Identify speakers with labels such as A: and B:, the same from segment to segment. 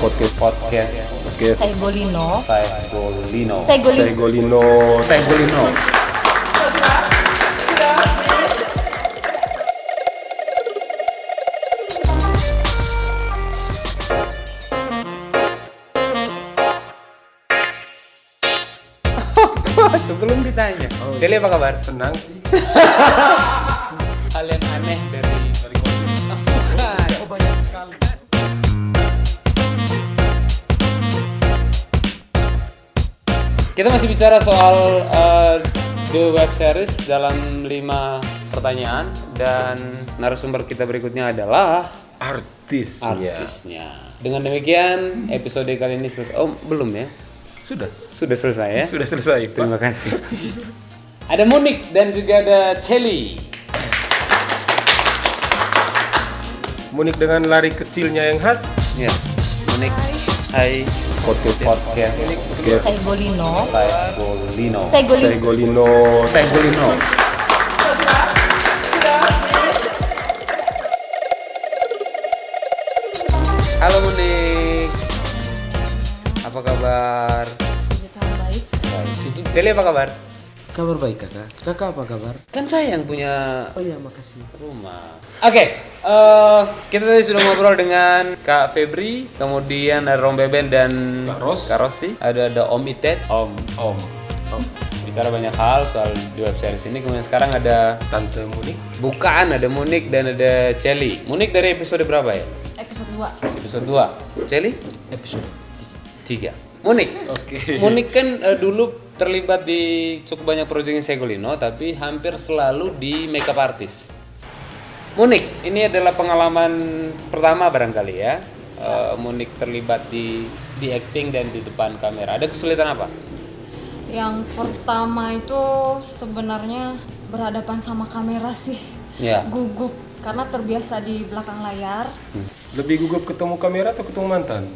A: podcast podcast podcast
B: Saya Golino.
A: saya Golino
B: Saya Golino.
C: Tegolino.
A: saya Golino Oh, Sebelum ditanya, Deli apa kabar?
C: Tenang.
A: iya. Hal yang aneh dari Oh, Kita masih bicara soal uh, the web series dalam lima pertanyaan dan narasumber kita berikutnya adalah
C: Artis.
A: artisnya. Dengan demikian episode kali ini selesai. Oh belum ya?
C: Sudah.
A: Sudah selesai ya?
C: Sudah selesai. Pak.
A: Terima kasih. ada Munik dan juga ada Celi.
C: Munik dengan lari kecilnya yang khas.
A: Ya, Munik. Hai. Podcast podcast.
B: Saya Golino.
A: Saya Golino.
B: Saya Golino.
C: Tegolino.
A: Saya Golino. Halo Munik. Apa kabar?
B: Puji Tuhan baik.
A: Celi apa kabar?
D: Kabar baik kakak. Kakak apa kabar?
A: Kan saya yang punya
D: Oh iya makasih.
A: rumah. Oke, eh, kita tadi sudah ngobrol dengan Kak Febri, kemudian ada Rom Beben dan
C: Kak Ros.
A: Kak Rosi, ada ada Om Itet, Om.
C: Om.
A: Bicara banyak hal soal di web series ini. Kemudian sekarang ada
C: Tante Munik.
A: bukaan, ada Munik dan ada Celi. Munik dari episode berapa ya?
B: Episode 2.
A: Episode 2. Celi?
D: Episode.
A: 3. Munik.
C: Oke.
A: Munik kan eh, dulu terlibat di cukup banyak proyeknya Segolino tapi hampir selalu di makeup artist. Munik, ini adalah pengalaman pertama barangkali ya. Eh, Munik terlibat di di acting dan di depan kamera. Ada kesulitan apa?
B: Yang pertama itu sebenarnya berhadapan sama kamera sih.
A: Ya.
B: Gugup karena terbiasa di belakang layar.
C: Lebih gugup ketemu kamera atau ketemu mantan?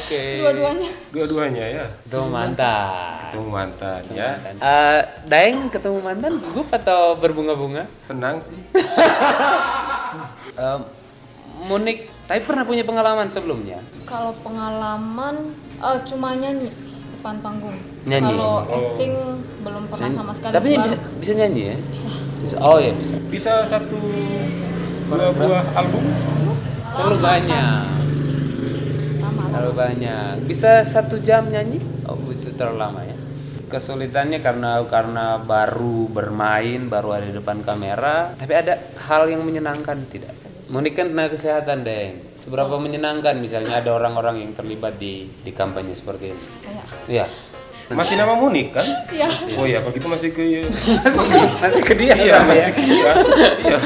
A: Oke.
B: Dua-duanya.
C: Dua-duanya ya.
A: Ketemu mantan.
C: Ketemu mantan ya.
A: Eh, Daeng ketemu mantan gugup atau berbunga-bunga?
C: Tenang sih.
A: Eh, Munik, tapi pernah punya pengalaman sebelumnya?
B: Kalau pengalaman eh, cuma nyanyi depan panggung.
A: Nyanyi. Oh.
B: Kalau acting belum pernah sama sekali.
A: Tapi
B: Baru-
A: bisa bisa nyanyi ya?
B: bisa.
A: Bisa. Oh ya bisa.
C: Bisa satu dua buah album?
A: Terlalu banyak.
B: Lama.
A: Terlalu banyak. Bisa satu jam nyanyi? Oh itu terlalu lama ya. Kesulitannya karena karena baru bermain, baru ada di depan kamera. Tapi ada hal yang menyenangkan tidak? Munik kan tenaga kesehatan deh. Seberapa menyenangkan misalnya ada orang-orang yang terlibat di di kampanye seperti ini?
B: Saya.
A: Iya.
C: Masih nama Munik kan?
B: Iya.
C: Oh iya, kalau gitu masih ke
A: Masih, masih ke dia.
C: Iya,
A: Bang, ya?
C: masih ke dia. Iya.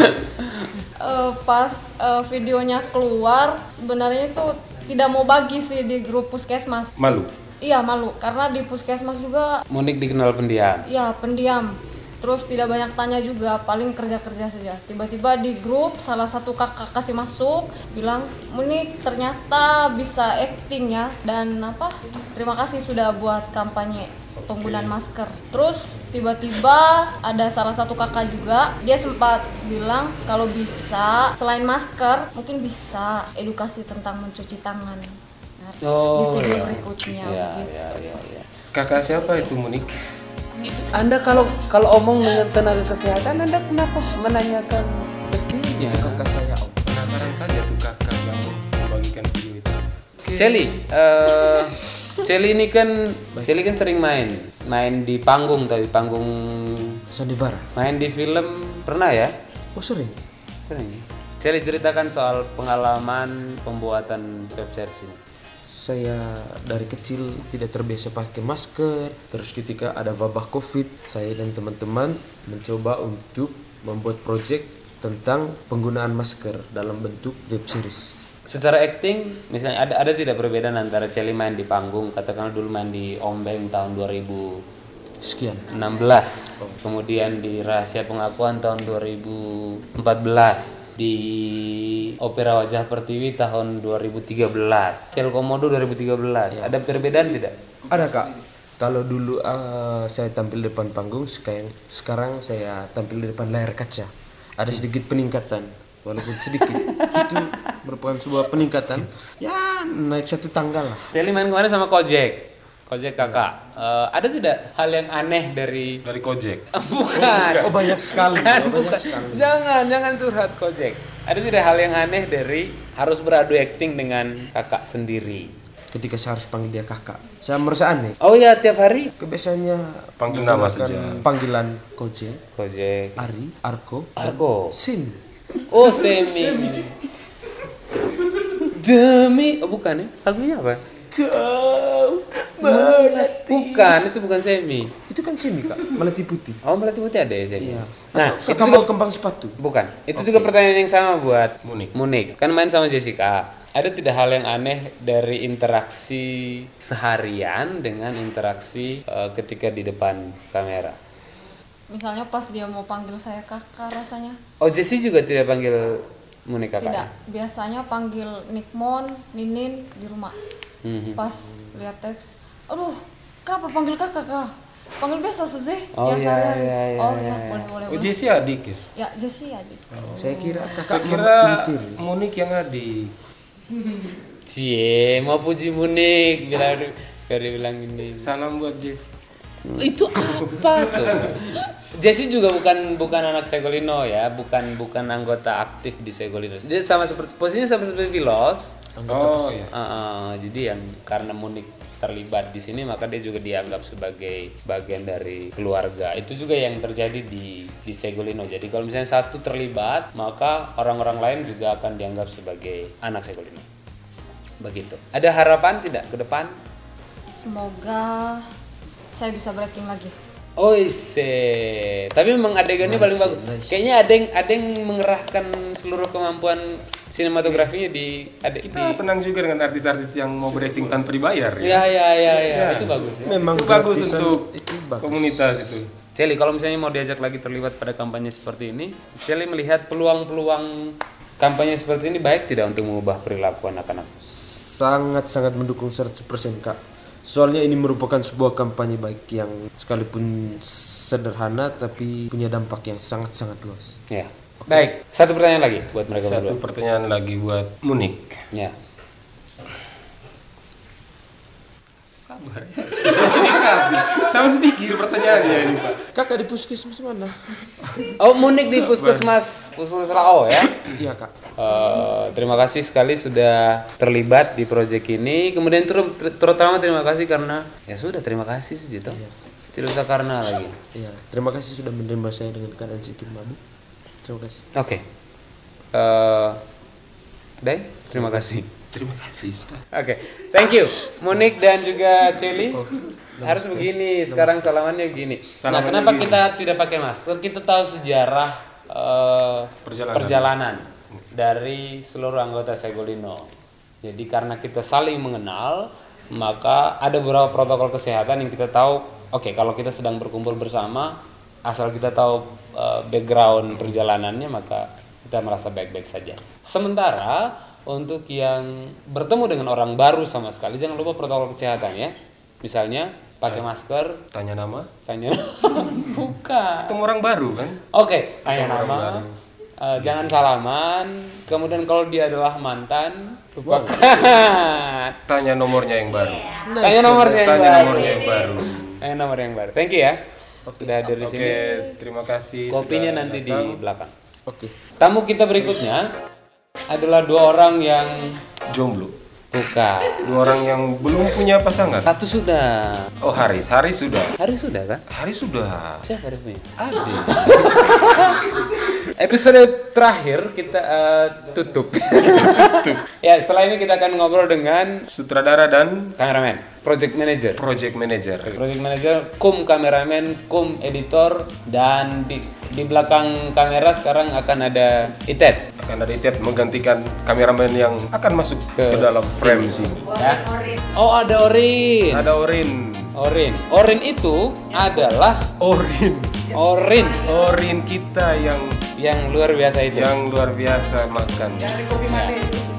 B: Eh, pas eh, videonya keluar sebenarnya itu tidak mau bagi sih di grup puskesmas
C: Malu.
B: iya malu karena di puskesmas juga
A: Munik dikenal pendiam.
B: ya pendiam terus tidak banyak tanya juga paling kerja kerja saja tiba-tiba di grup salah satu kakak kasih masuk bilang Munik ternyata bisa acting ya dan apa terima kasih sudah buat kampanye penggunaan masker terus tiba-tiba ada salah satu kakak juga dia sempat bilang kalau bisa selain masker mungkin bisa edukasi tentang mencuci tangan Nah, di
A: iya.
B: video berikutnya
A: Iya,
B: begitu.
A: iya, iya, iya.
C: Kakak siapa itu Munik?
A: Anda kalau kalau omong dengan tenaga kesehatan, Anda kenapa menanyakan begini?
B: Iya.
D: Kakak saya om.
C: Penasaran saja tuh kakak yang membagikan video itu.
A: Celi, eh, Celi ini kan Celi kan sering main, main di panggung tadi panggung
D: Sandivara.
A: main di film pernah ya?
D: Oh sering.
A: Sering. ya? Celi ceritakan soal pengalaman pembuatan web series ini.
D: Saya dari kecil tidak terbiasa pakai masker. Terus ketika ada wabah covid, saya dan teman-teman mencoba untuk membuat project tentang penggunaan masker dalam bentuk web series.
A: Secara acting, misalnya ada ada tidak perbedaan antara Celi main di panggung, katakanlah dulu main di Ombeng tahun 2000
D: Sekian.
A: 16 kemudian di rahasia pengakuan tahun 2014 di opera wajah pertiwi tahun 2013 Sel komodo 2013
D: Ya.
A: ada perbedaan tidak
D: Ada kak. Kalau dulu eh, saya tampil di depan panggung, sekarang sekarang saya tampil di depan layar kaca. Ada sedikit peningkatan. walaupun sedikit itu merupakan sebuah peningkatan ya naik satu tangga lah
A: Celi main kemarin sama Kojek. Kojek kakak.
D: Iya.
A: Eh, ada tidak hal yang aneh dari
C: dari Kojek.
A: bukan.
D: oh banyak sekali
A: Bukan,
D: oh, banyak
A: bukan.
D: sekali
A: Jangan, jangan curhat Kojek. Ada tidak hal yang aneh dari harus beradu acting dengan kakak sendiri?
D: ketika saya harus panggil dia kakak saya merasa aneh
A: Oh ya, tiap hari
D: kebiasaannya
C: Panggil nama
D: menggunakan
C: saja.
D: panggilan Kojek
A: Kojek.
D: Ari Arko
A: Argo.
D: Sim
A: Oh, Semi. Demi, oh bukan ya? Lagunya apa?
D: kau melati
A: Bukan, itu bukan Semi.
D: itu kan Simi kak melati putih
A: Oh, berarti putih ada ya Semi.
D: iya
A: Nah,
D: Atau
A: itu
D: kembang kembang sepatu
A: Bukan. Itu juga pertanyaan yang sama buat
C: Munik.
A: Kan main sama Jessica. Ada tidak hal yang aneh dari interaksi seharian dengan interaksi eh, ketika di depan kamera?
B: Misalnya pas dia mau panggil saya kakak rasanya
A: Oh, Jessie juga tidak panggil Munik ya?
B: tidak.
A: kakaknya?
B: Biasanya panggil Nikmon, Ninin di rumah.
A: Mhm.
B: Pas lihat teks, aduh kenapa panggil kakak kak? Panggil biasa sih
A: Oh,
B: yang
A: iya,
B: sehari-hari.
A: iya, iya,
B: oh
A: iya,
B: ya,
A: iya.
B: boleh boleh
C: Oh
B: boleh.
C: Jesse adik ya?
B: Ya Jesse ya Dik.
D: saya kira
C: Saya
D: kakak
C: kira
D: mentir.
C: Munik yang adik.
A: Cie, mau puji Munik bila biar dia bilang ini.
C: Salam buat Jesse.
A: Itu apa tuh? Jessie juga bukan bukan anak Segolino ya, bukan bukan anggota aktif di Segolino. Dia sama seperti posisinya sama seperti Vilos,
C: Oh iya.
A: Heeh, jadi yang karena Munik terlibat di sini maka dia juga dianggap sebagai bagian dari keluarga. Itu juga yang terjadi di di Segolino. Jadi kalau misalnya satu terlibat, maka orang-orang lain juga akan dianggap sebagai anak Segolino. Begitu. Ada harapan tidak ke depan?
B: Semoga saya bisa breaking lagi.
A: Oise. Tapi memang adegannya paling bagus.
D: nice.
A: Kayaknya ada yang ada yang mengerahkan seluruh kemampuan sinematografinya di ada
C: Kita
A: di-
C: senang juga dengan artis-artis yang mau berakting tanpa dibayar ya.
A: Ya ya ya ya, itu bagus ya.
D: memang
C: Itu bagus
D: gratisan
C: untuk
D: itu bagus.
C: komunitas itu.
A: Celi, kalau misalnya mau diajak lagi terlibat pada kampanye seperti ini, Celi melihat peluang-peluang kampanye seperti ini baik tidak untuk mengubah perilaku anak-anak?
D: sangat-sangat mendukung 100% kak soalnya ini merupakan sebuah kampanye baik yang sekalipun sederhana tapi punya dampak yang sangat-sangat luas
A: Ya. Baik, satu pertanyaan lagi buat mereka berdua.
C: Satu pertanyaan lagi buat Munik.
A: Ya.
C: Sabar ya. Sama sedikit pertanyaannya ini Pak.
D: kakak di puskesmas mana?
A: Oh, Munik di Puskesmas Puskesmas Lao ya.
D: iya kak
A: Eh, terima kasih sekali sudah terlibat di proyek ini. Kemudian ter- ter- terutama terima kasih karena ya sudah terima kasih sih gitu.
C: Iya.
A: Tidak usah karena lagi.
D: iya terima kasih sudah menerima saya dengan keadaan sedikit mabuk terima kasih
A: Oke. Eh, Day, terima kasih.
C: Terima kasih Ustaz.
A: Oke, thank you, Monik dan juga Celi. Harus begini, sekarang salamannya begini. nah,
C: Salamannya
A: kenapa
C: begini.
A: kita tidak pakai masker? Kita tahu sejarah eh,
C: Perjalanan.
A: perjalanan dari seluruh anggota Segolino. Jadi karena kita saling mengenal, maka ada beberapa protokol kesehatan yang kita tahu. Oke, kalau kita sedang berkumpul bersama, asal kita tahu eh, background perjalanannya, maka kita merasa baik-baik saja. Sementara untuk yang bertemu dengan orang baru sama sekali, jangan lupa protokol kesehatan ya. Misalnya pakai masker,
C: Tanya nama.
A: tanya buka.
C: Ketemu orang baru kan?
A: Oke, tanya nama. eh, jangan salaman. Kemudian kalau dia adalah mantan, lupakan.
C: Tanya nomornya yang baru.
A: tanya nomornya yang
C: Tanya
A: baru.
C: nomornya yang baru.
A: Tanya nomor yang baru. Thank you ya. Sudah hadir di sini.
C: Oke, terima kasih.
A: Kopinya
C: sudah
A: nanti
C: datang.
A: di belakang.
D: oke
A: Tamu kita berikutnya adalah dua orang yang
C: jomblo.
A: buka.
C: Dua orang yang belum punya pasangan.
A: Satu sudah.
C: Oh, Haris, Haris sudah.
A: Hari sudah kan?
C: Haris sudah.
A: Siapa dia punya?
C: Ada.
A: Episode terakhir kita eh, tutup. ya, setelah ini kita akan ngobrol dengan
C: Sutradara dan
A: kameramen, project manager.
C: project manager.
A: Project manager, kum kameramen, kum editor, dan di, di belakang kamera sekarang akan ada Itet.
C: Akan ada Itet menggantikan kameramen yang akan masuk
A: Ke
C: ke, dalam frame sini.
A: Ya. Oh ada Orin.
C: Ada Orin.
A: Orin. Orin itu adalah
C: Orin.
A: Orin
C: Orin kita yang
A: yang luar biasa itu.
C: yang luar biasa makan.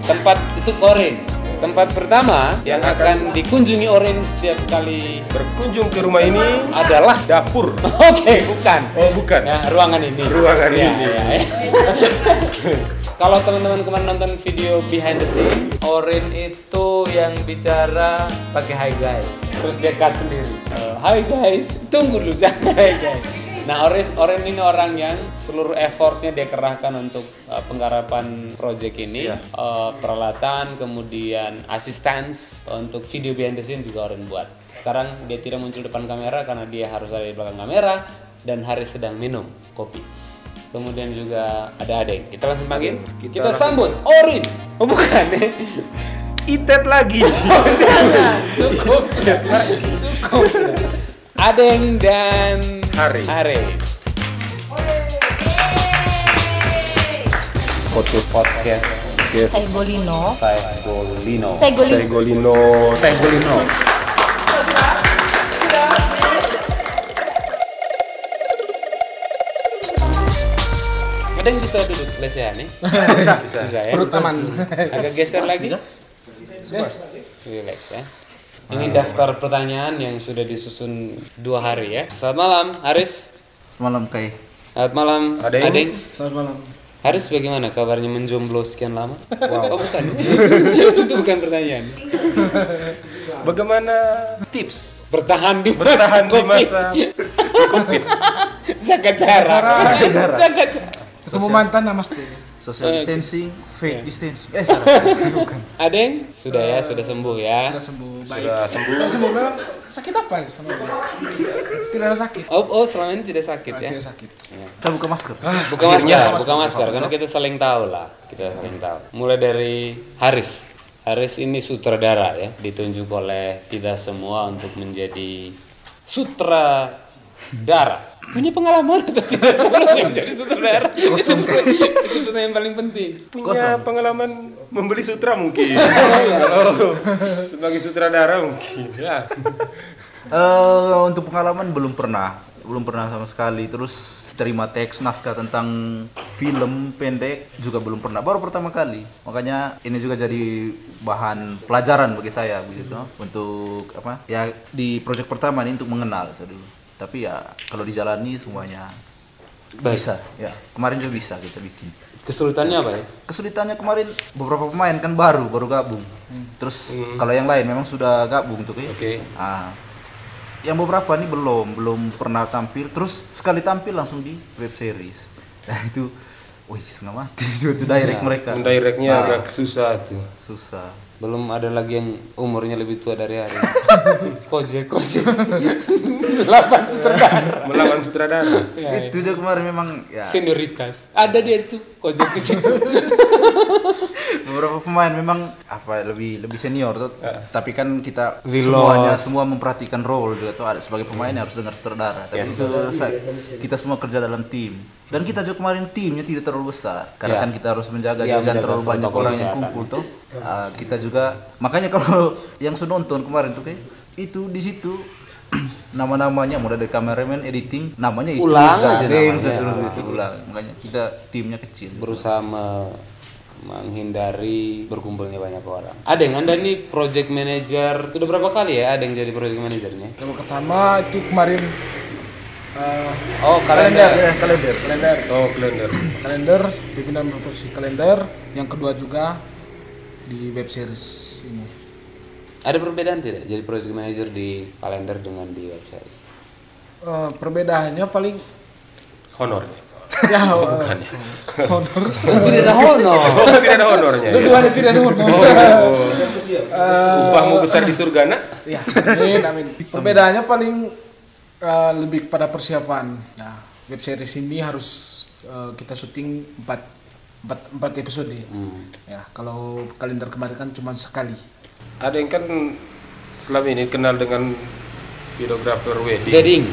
A: Tempat itu Orin. Tempat pertama yang
C: Yang
A: akan dikunjungi Orin setiap kali
C: Berkunjung ke rumah ini
A: adalah
C: dapur.
A: Oke, bukan. Ya.
C: Oh bukan.
A: Nah, ruangan ini.
C: Ruangan ini.
A: ya. Kalau teman-teman kemarin nonton video behind the scene,
E: Orin itu yang bicara pakai hi guys.
A: terus dia cut sendiri. Eh, Hai guys, tunggu dulu jangan hai guys. Nah, Orin, Orin ini orang yang seluruh effortnya dia kerahkan untuk eh, penggarapan project ini, Eh, peralatan, kemudian assistance untuk video behind the scene juga Orin buat. Sekarang dia tidak muncul depan kamera karena dia harus ada di belakang kamera dan Haris sedang minum kopi. Kemudian juga ada Adeng. Kita langsung panggil. Kita, sambut Orin. Oh bukan.
C: Itet lagi.
A: Jangan, cukup sudah. Cukup sudah. Adeng dan
C: Hari.
A: Foto podcast
F: Saigolino.
A: Saigolino.
F: Saigolino.
C: Segolino.
A: Saigolino. Adeng bisa duduk lesehan nih. Bisa, bisa. ya. Agak geser lagi. Relax ya. Ini daftar pertanyaan yang sudah disusun dua hari ya. Selamat malam, Haris.
G: Semalam kayak
A: Selamat malam,
C: Adeng.
A: Adeng. Selamat malam. Haris bagaimana kabarnya menjomblo sekian lama? Oh bukan. Itu bukan pertanyaan.
C: Bagaimana tips
A: Bertahan di masa
C: bertahan di
A: COVID.
C: masa
A: Jaga jarak. Jaga jarak.
H: Ketemu mantan lah pasti.
G: social distancing, fake distancing. Eh, salah. bukan.
A: Adeng, sudah ya, sudah sembuh ya.
H: Sudah sembuh baik.
C: sudah sembuh?
H: Sudah sembuh memang sakit apa ya selama ini? Tidak ada sakit.
A: Oh, oh selama ini tidak sakit ya.
H: Tidak sakit.
G: Saya buka masker. Eh,
A: Buka masker, Iya, buka masker karena kita saling tahu lah, kita saling tahu. Mulai dari Haris. Haris ini sutradara ya, ditunjuk oleh kita semua untuk menjadi sutradara. Punya pengalaman atau tidak sebelum menjadi sutradara? Kosong. Itu pertanyaan paling penting.
C: punya pengalaman membeli sutra mungkin. oh, sebagai sutradara mungkin. Ya.
G: Eh, untuk pengalaman belum pernah. Belum pernah sama sekali. Terus terima teks naskah tentang film pendek juga belum pernah. Baru pertama kali. Makanya ini juga jadi bahan pelajaran bagi saya begitu. Untuk apa? Ya di project pertama ini untuk mengenal saya dulu. Tapi ya kalau dijalani semuanya bisa. Ya, kemarin juga bisa kita bikin.
A: Kesulitannya apa ya?
G: kesulitannya kemarin beberapa pemain kan baru baru gabung terus kalau yang lain memang sudah gabung tuh kayak
A: Oke.
G: ah yang beberapa ini belum belum pernah tampil terus sekali tampil langsung di web series nah itu wih setengah mati itu direct mereka
C: Directnya
G: Ah,
C: agak susah tuh.
G: susah
A: Belum ada lagi yang umurnya lebih tua dari Haris. Kojek, kojek. Delapan sutradara.
C: Melawan sutradara.
A: Ya, ya.
G: itu aja kemarin memang ya
A: Senioritas. Ada dia tuh kojek di situ.
G: beberapa pemain memang apa lebih lebih senior tuh. tapi kan kita
A: We
G: semuanya
A: lost.
G: semua memperhatikan role juga tuh ada sebagai pemain
A: Iya.
G: harus dengar sutradara tapi itu sa- kita semua kerja dalam tim dan kita juga kemarin timnya tidak terlalu besar
A: Ya.
G: karena kan kita harus menjaga
A: Ya,
G: jangan
A: menjaga
G: terlalu banyak
A: protokol
G: orang yang
A: kesehatan.
G: kumpul tuh Ah, kita juga makanya kalau yang sudah nonton kemarin tuh kayak itu di situ nama-namanya mulai dari kameramen editing namanya itu
A: Ulang aja
G: Zadeng,
A: namanya. Ah.
G: seterusnya itu ulang makanya kita timnya kecil
A: berusaha me- menghindari berkumpulnya banyak orang. Ada yang Anda nih project manager sudah berapa kali ya ada yang jadi project manajernya?
H: Yang pertama itu kemarin eh,
A: Oh,
H: kalender,
G: kalender
H: kalender,
C: Oh, kalender.
H: kalender, pimpinan produksi kalender. Yang kedua juga di web series ini.
A: Ada perbedaan tidak jadi project manager di kalender dengan di web series?
H: Eh, perbedaannya paling
C: Honornya.
H: ya bukan.
A: Kan Tidak ada honor.
C: Oh, tidak ada honornya. ya? iya.
H: Dua-duanya tidak ada hormon.
C: Upahmu besar di surga nak?
H: Ya, amin, amin. Perbedaannya paling eh, lebih pada persiapan. Nah, web series ini harus eh, kita syuting 4 empat, empat episode. Ya, kalau kalender kemarin kan cuma sekali.
C: Ada yang kan selama ini kenal dengan videographer wedding. Nah,
A: Gading.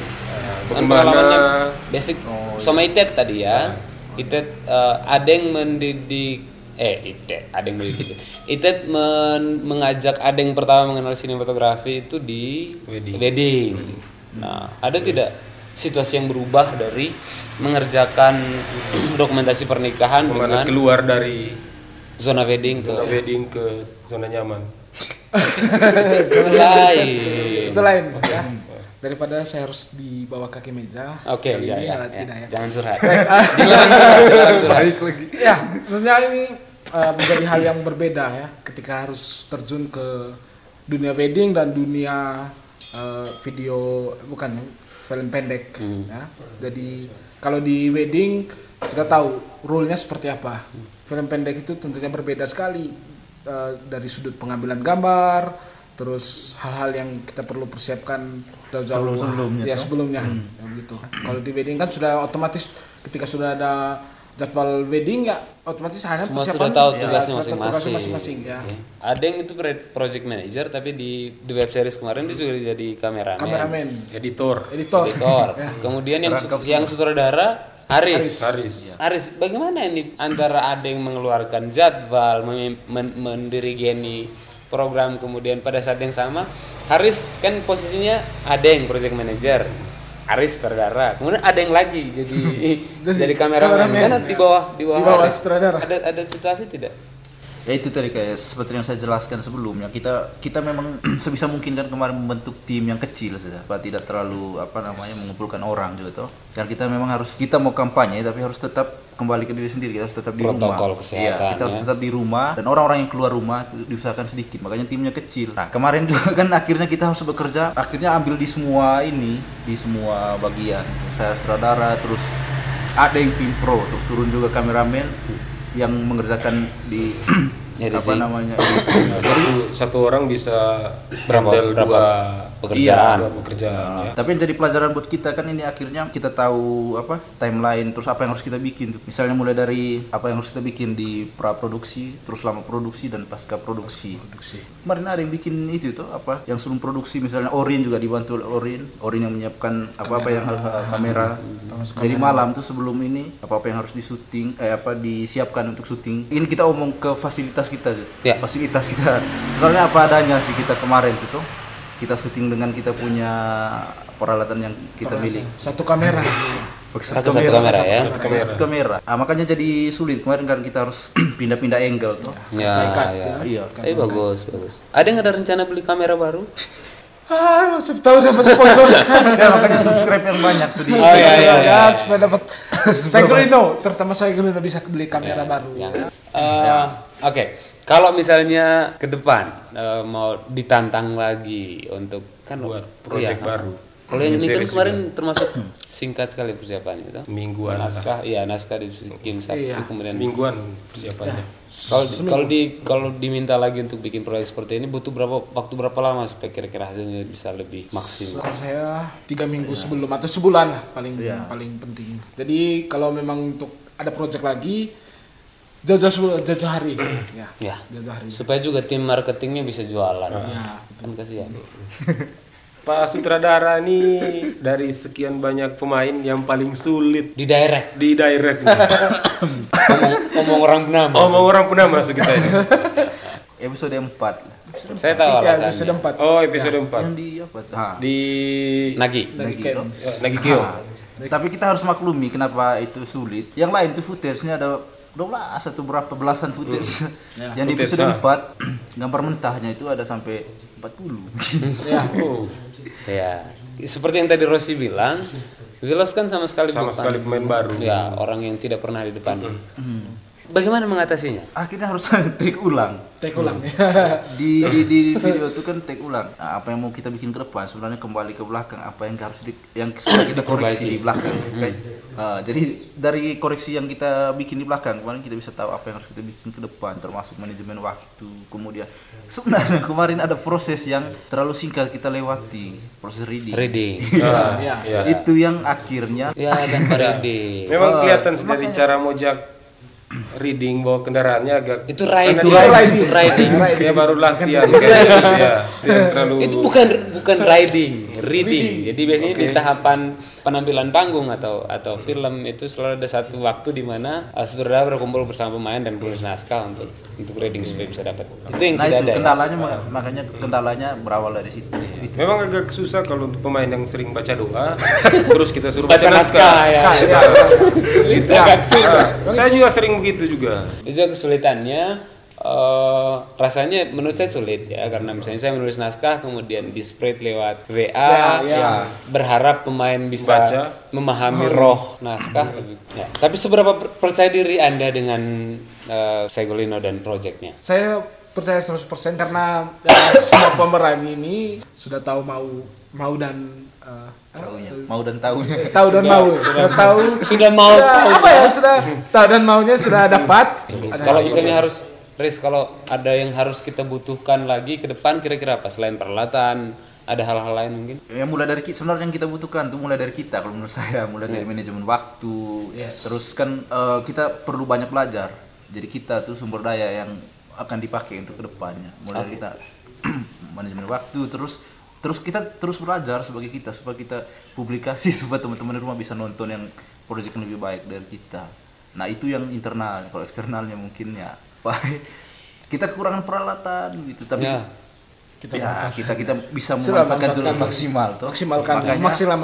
A: Kan pengalamannya
C: Bagaimana
A: basic sama Itet tadi ya. Itet eh, ada yang mendidik eh Itet, ada yang mendidik Itet. Itet men- mengajak ada yang pertama mengenal sinematografi itu di
C: Wedding.
A: Nah, ada tidak situasi yang berubah dari mengerjakan dokumentasi pernikahan
C: Bagaimana
A: dengan
C: keluar dari
A: zona wedding ke
C: zona wedding ke zona nyaman?
A: itu lain.
H: Itu lain ya. daripada saya harus di bawah kaki meja.
A: Oke,
H: Kali
A: iya,
H: ini
A: iya,
H: alat
A: iya.
H: tidak ya.
A: Jangan curhat. Dilarang curhat, dilarang curhat.
H: Ya, tentunya ini eh, menjadi hal yang berbeda ya ketika harus terjun ke dunia wedding dan dunia eh, video bukan film pendek ya. Jadi kalau di wedding kita tahu rule-nya seperti apa. Film pendek itu tentunya berbeda sekali eh, dari sudut pengambilan gambar, terus hal-hal yang kita perlu persiapkan jauh-jauh
G: Sebelum-sebelumnya,
H: Ya,
G: toh?
H: sebelumnya
A: Hmm.
H: ya begitu kalau di wedding kan sudah otomatis ketika sudah ada jadwal wedding ya otomatis hanya
A: Semua
H: persiapan
A: sudah tahu
H: ya,
A: tugasnya
H: sudah tahu tugasnya
A: masing-masing. Iya.
H: masing-masing, ya
A: Oke. Ada yang itu pre- project manager tapi di di web series kemarin dia juga jadi kameramen.
H: kameramen
C: Editor.
H: editor
A: Editor. Ya. Kemudian yang su- yang sutradara Aris.
C: Aris.
A: Aris, bagaimana ini antara ada yang mengeluarkan jadwal, mem- men- mendirigeni program kemudian pada saat yang sama Haris kan posisinya ada yang project manager, Aris sutradara, kemudian ada yang lagi jadi jadi kameramen,
H: kameramen.
A: karena di bawah di bawah,
H: Di bawah
A: Aris.
H: sutradara.
A: Ada ada situasi tidak?
G: Ya itu tadi kayak seperti yang saya jelaskan sebelumnya kita kita memang sebisa mungkin kan kemarin membentuk tim yang kecil saja, Pak tidak terlalu apa namanya mengumpulkan orang juga toh. Karena kita memang harus kita mau kampanye tapi harus tetap kembali ke diri sendiri, kita harus tetap di rumah.
A: Protokol kesehatan,
G: Iya, kita harus
A: ya.
G: tetap di rumah dan orang-orang yang keluar rumah itu diusahakan sedikit, makanya timnya kecil. Nah, kemarin juga kan akhirnya kita harus bekerja, akhirnya ambil di semua ini, di semua bagian. Saya sutradara terus ada yang tim pro, terus turun juga kameramen yang mengerjakan di apa
A: Editing.
G: namanya
C: Nah, Jadi satu orang bisa
A: Berapa-
C: handle
A: berapa
C: dua
A: pekerjaan? Ah.
C: dua pekerjaan ya.
G: Tapi yang jadi pelajaran buat kita kan ini akhirnya kita tahu apa timeline terus apa yang harus kita bikin tuh. Misalnya mulai dari apa yang harus kita bikin di praproduksi, terus selama produksi dan pasca produksi. Kemarin ada yang bikin itu tuh apa yang sebelum produksi misalnya Orin juga dibantu oleh Orin, Orin yang menyiapkan apa-apa yang eh, kamera. Jadi malam tuh sebelum ini apa-apa yang harus disuting eh apa disiapkan untuk syuting. Ini kita omong ke fasilitas kita tuh.
A: Ya.
G: Fasilitas kita sebenarnya apa adanya sih kita kemarin tuh tuh kita syuting dengan kita punya peralatan yang kita miliki.
H: satu kamera
G: Pakai
A: Satu- satu kamera, ya.
G: Pakai satu kamera. Ah, makanya jadi sulit kemarin kan kita harus pindah-pindah angle tuh.
A: Ya, ya.
G: Iya.
A: Tapi bagus, bagus. Ada yang ada rencana beli kamera baru?
H: ah siapa tahu dapat sponsor
G: Ya, makanya subscribe yang banyak sedih.
A: Oh, iya, iya, iya.
H: Ya, supaya dapat saya terutama saya bisa beli kamera
A: Iya,
H: baru
C: Ya.
A: Eh, Oke, kalau misalnya ke depan eh, mau ditantang lagi untuk kan
C: Buat project baru.
A: Kalau yang ini kan
C: Series
A: kemarin termasuk singkat sekali persiapannya itu.
C: Mingguan lah.
A: Naskah, iya naskah dibikin Sabtu kemudian.
C: Semingguan persiapannya.
A: Kalau di- kalau di kalau diminta lagi untuk bikin proyek seperti ini butuh berapa waktu berapa lama supaya kira-kira hasilnya bisa lebih maksimal?
H: Kalau saya tiga minggu sebelum atau sebulan lah paling paling penting. Jadi kalau memang untuk ada project lagi jauh-jauh sebelum- jauh-jauh hari ya.
A: Ya.
H: Jauh-jauh hari.
A: Supaya juga tim marketingnya bisa jualan.
H: Ya.
A: Kan kasihan.
C: Pak sutradara ini dari sekian banyak pemain yang paling sulit
A: Di daerah
C: di direct nih.
A: ngomong, ngomong orang bernama.
C: Oh, mau orang pernah masuk kita ini.
G: Episode 4 lah.
A: Saya
G: Iya,
A: tahu
H: Ya,
A: alasannya.
H: episode empat.
C: Oh, episode 4.
G: Yang di apa? tuh? Ha,
C: Di
A: Ya. Nagi. Ah,
H: dari
G: gitu.
H: camp.
C: eh, Nagi Kio.
G: Ha. Tapi kita harus maklumi kenapa itu sulit. Yang lain tuh footage-nya ada 12 atau berapa belasan footage. yang di
C: Footage,
G: episode
C: ha.
G: 4 gambar mentahnya itu ada sampai 40.
A: Ya. Seperti yang tadi Rossi bilang, Wilos kan sama sekali
C: Sama
A: bukan-
C: sekali pemain baru.
A: Ya, orang yang tidak pernah di depan. Mm. Bagaimana mengatasinya?
G: Akhirnya harus take ulang. Hmm.
H: Take ulang ya.
G: di, di, di video itu kan take ulang Nah, apa yang mau kita bikin ke depan sebenarnya kembali ke belakang apa yang harus di- yang sudah kita koreksi di belakang
A: Hmm.
G: Kayak, ah, jadi dari koreksi yang kita bikin di belakang kemarin kita bisa tahu apa yang harus kita bikin ke depan termasuk manajemen waktu kemudian sebenarnya kemarin ada proses yang terlalu singkat kita lewati proses reading,
A: Reading.
G: Iya,
H: Ya.
G: itu yang akhirnya
A: ya, tanpa
G: Iya.
A: reading.
C: Memang kelihatan sih dari cara mojak reading bawa kendaraannya agak
A: Itu riding. Itu
C: Itu
A: riding. Itu riding.
C: dia baru latihan kayak gitu ya. Dia terlalu
A: Itu bukan bukan riding, reading. Jadi biasanya di tahapan penampilan panggung atau atau film itu selalu ada satu waktu di mana uh, sutradara berkumpul bersama pemain dan penulis naskah untuk untuk reading supaya bisa dapat. Itu yang
G: nah
A: tidak
G: itu
A: ada. ya?
G: kendalanya ma- makanya kendalanya berawal dari situ itu
C: Memang agak susah kalau untuk pemain yang sering baca doa, terus kita suruh
A: Baca
C: baca
A: naskah
C: naskah. Iya.
A: ya. Iya.
C: Ya.
A: Itu agak sulit.
G: Iya.
C: Saya juga sering begitu juga.
A: Itu juga kesulitannya eh, rasanya menurut saya sulit ya karena misalnya saya menulis naskah kemudian di spread lewat WA
H: ya.
A: ya, berharap pemain bisa
C: Baca.
A: memahami roh naskah ya. tapi seberapa per- percaya diri Anda dengan eh, Segolino dan projectnya
H: Saya percaya 100% karena ya, semua pemeran ini sudah tahu mau mau dan eh,
G: Taunya. Mau dan tahunya.
H: tahu dan mau. Sudah tahu
A: Sudah mau
H: sudah-
A: tahu.
H: apa ya sudah tahu dan maunya sudah dapat.
A: kalau misalnya harus Riz, kalau ada yang harus kita butuhkan lagi ke depan kira-kira apa selain peralatan ada hal-hal lain mungkin
G: ya mulai dari kita sebenarnya yang kita butuhkan tuh mulai dari kita kalau menurut saya mulai
A: Iya.
G: dari manajemen waktu terus kan eh, kita perlu banyak belajar jadi kita tuh sumber daya yang akan dipakai untuk kedepannya mulai dari kita manajemen waktu terus terus kita terus belajar sebagai kita supaya kita publikasi supaya teman-teman di rumah bisa nonton yang proyek yang lebih baik dari kita nah itu yang internal kalau eksternalnya mungkin ya kita kekurangan peralatan gitu tapi
A: Ya.
G: kita ya, kita kita bisa memanfaatkan ya. itu lebih maksimal tuh
H: Maksimalkan
G: makanya
H: maksimal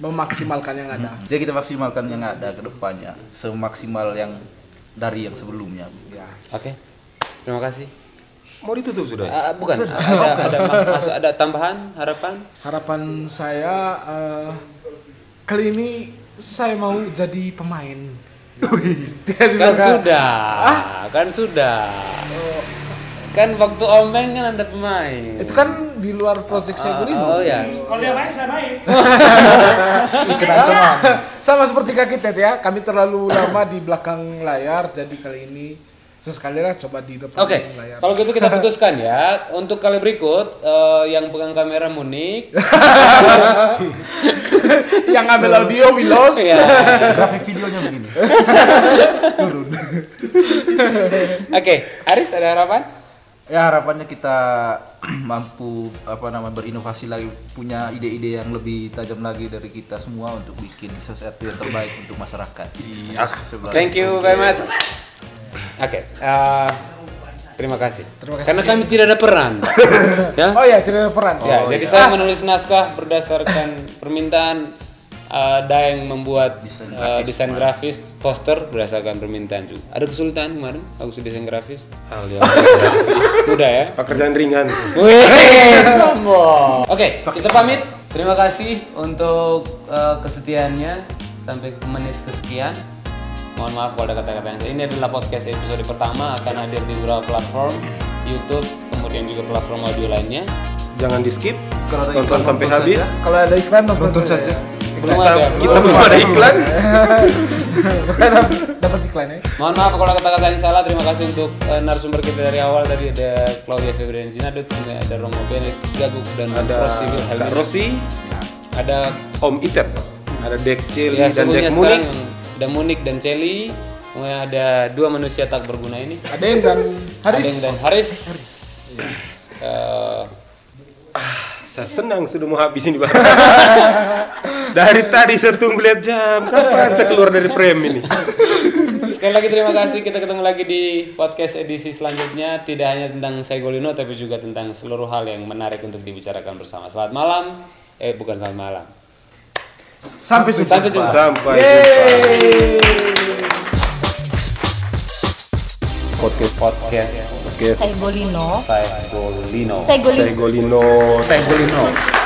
H: memaksimalkan yang ada.
G: jadi kita maksimalkan yang ada ke depannya semaksimal yang dari yang sebelumnya
A: oke terima kasih
C: Mau ditutup sudah?
A: Ah, bukan ada ada masuk ada tambahan harapan
H: Harapan saya eh, kali ini saya mau jadi pemain. Tidak
A: kan
H: disangka.
A: sudah
H: Ah.
A: kan sudah kan waktu omeng kan ada pemain
H: Itu kan di luar project saya
A: oh, oh ya ah,
H: Sama seperti Kak Kitet ya, kami terlalu lama di belakang layar, jadi kali ini sesekali lah coba di depan
A: Oke,
H: layar.
A: kalau gitu kita putuskan ya. Untuk kali berikut, eh, yang pegang kamera Munik,
H: Yang ambil audio Wilos,
A: Ya.
G: grafik videonya begini
A: Oke, Aris ada harapan?
G: ya harapannya kita mampu apa namanya berinovasi lagi punya ide-ide yang lebih tajam lagi dari kita semua untuk bikin sesuatu yang terbaik untuk masyarakat
A: Iya. Thank you very much. Oke, eh, terima kasih.
H: Terima kasih.
A: Karena kami tidak ada peran. ya?
H: Oh ya, tidak ada peran.
A: ya, jadi saya menulis naskah berdasarkan permintaan eh, ada yang membuat
G: Desain
A: eh,
G: grafis
A: desain grafis poster berdasarkan permintaan juga. Ada kesulitan kemarin aku desain grafis?
C: Hal yang
A: Mudah ya?
C: pekerjaan ringan.
A: Wih, sombong. Oke, kita pamit. Terima kasih untuk eh, kesetiaannya sampai ke menit kesekian. Mohon maaf kalau ada kata-kata yang salah. ini adalah podcast episode pertama akan hadir di beberapa platform YouTube, kemudian juga platform audio lainnya.
C: Jangan di skip.
G: Kalau ada
C: Tonton
G: iklan,
C: sampai
G: nonton
C: habis.
G: saja.
H: Kalau ada iklan nonton, saja.
A: Belum ada.
C: Kita belum ada iklan.
H: Makanya dapat iklan ya.
A: Mohon maaf kalau ada kata-kata yang salah. Terima kasih untuk eh, narasumber kita dari awal tadi ada Claudia Febrian Sinadut, kemudian ada Romo Benedictus Gaguk dan
C: Ada
A: Rosi
C: Kak
A: Wilhelmina.
C: Rosi,
A: Ada
C: Om Itep, ada Dek Celi
A: ya,
C: dan
A: sukunya
C: Dek
A: sekarang
C: Munik.
A: ada Munik dan Celi. Kemudian ada dua manusia tak berguna ini.
H: Ada yang dan Haris.
A: Adeng dan Haris. Eh,
C: Saya senang sudah mau habis ini Bang. dari tadi saya tunggu lihat jam. Kapan saya keluar dari frame ini?
A: sekali lagi terima kasih. Kita ketemu lagi di podcast edisi selanjutnya. Tidak hanya tentang Saigolino tapi juga tentang seluruh hal yang menarik untuk dibicarakan bersama. Selamat malam. Eh bukan selamat malam.
H: Sampai jumpa.
A: Sampai jumpa.
C: Sampai jumpa.
A: Podcast podcast
F: Saigolino.
A: Saigolino.
F: Saigolino.
C: Saya Golino.
A: Saigolino.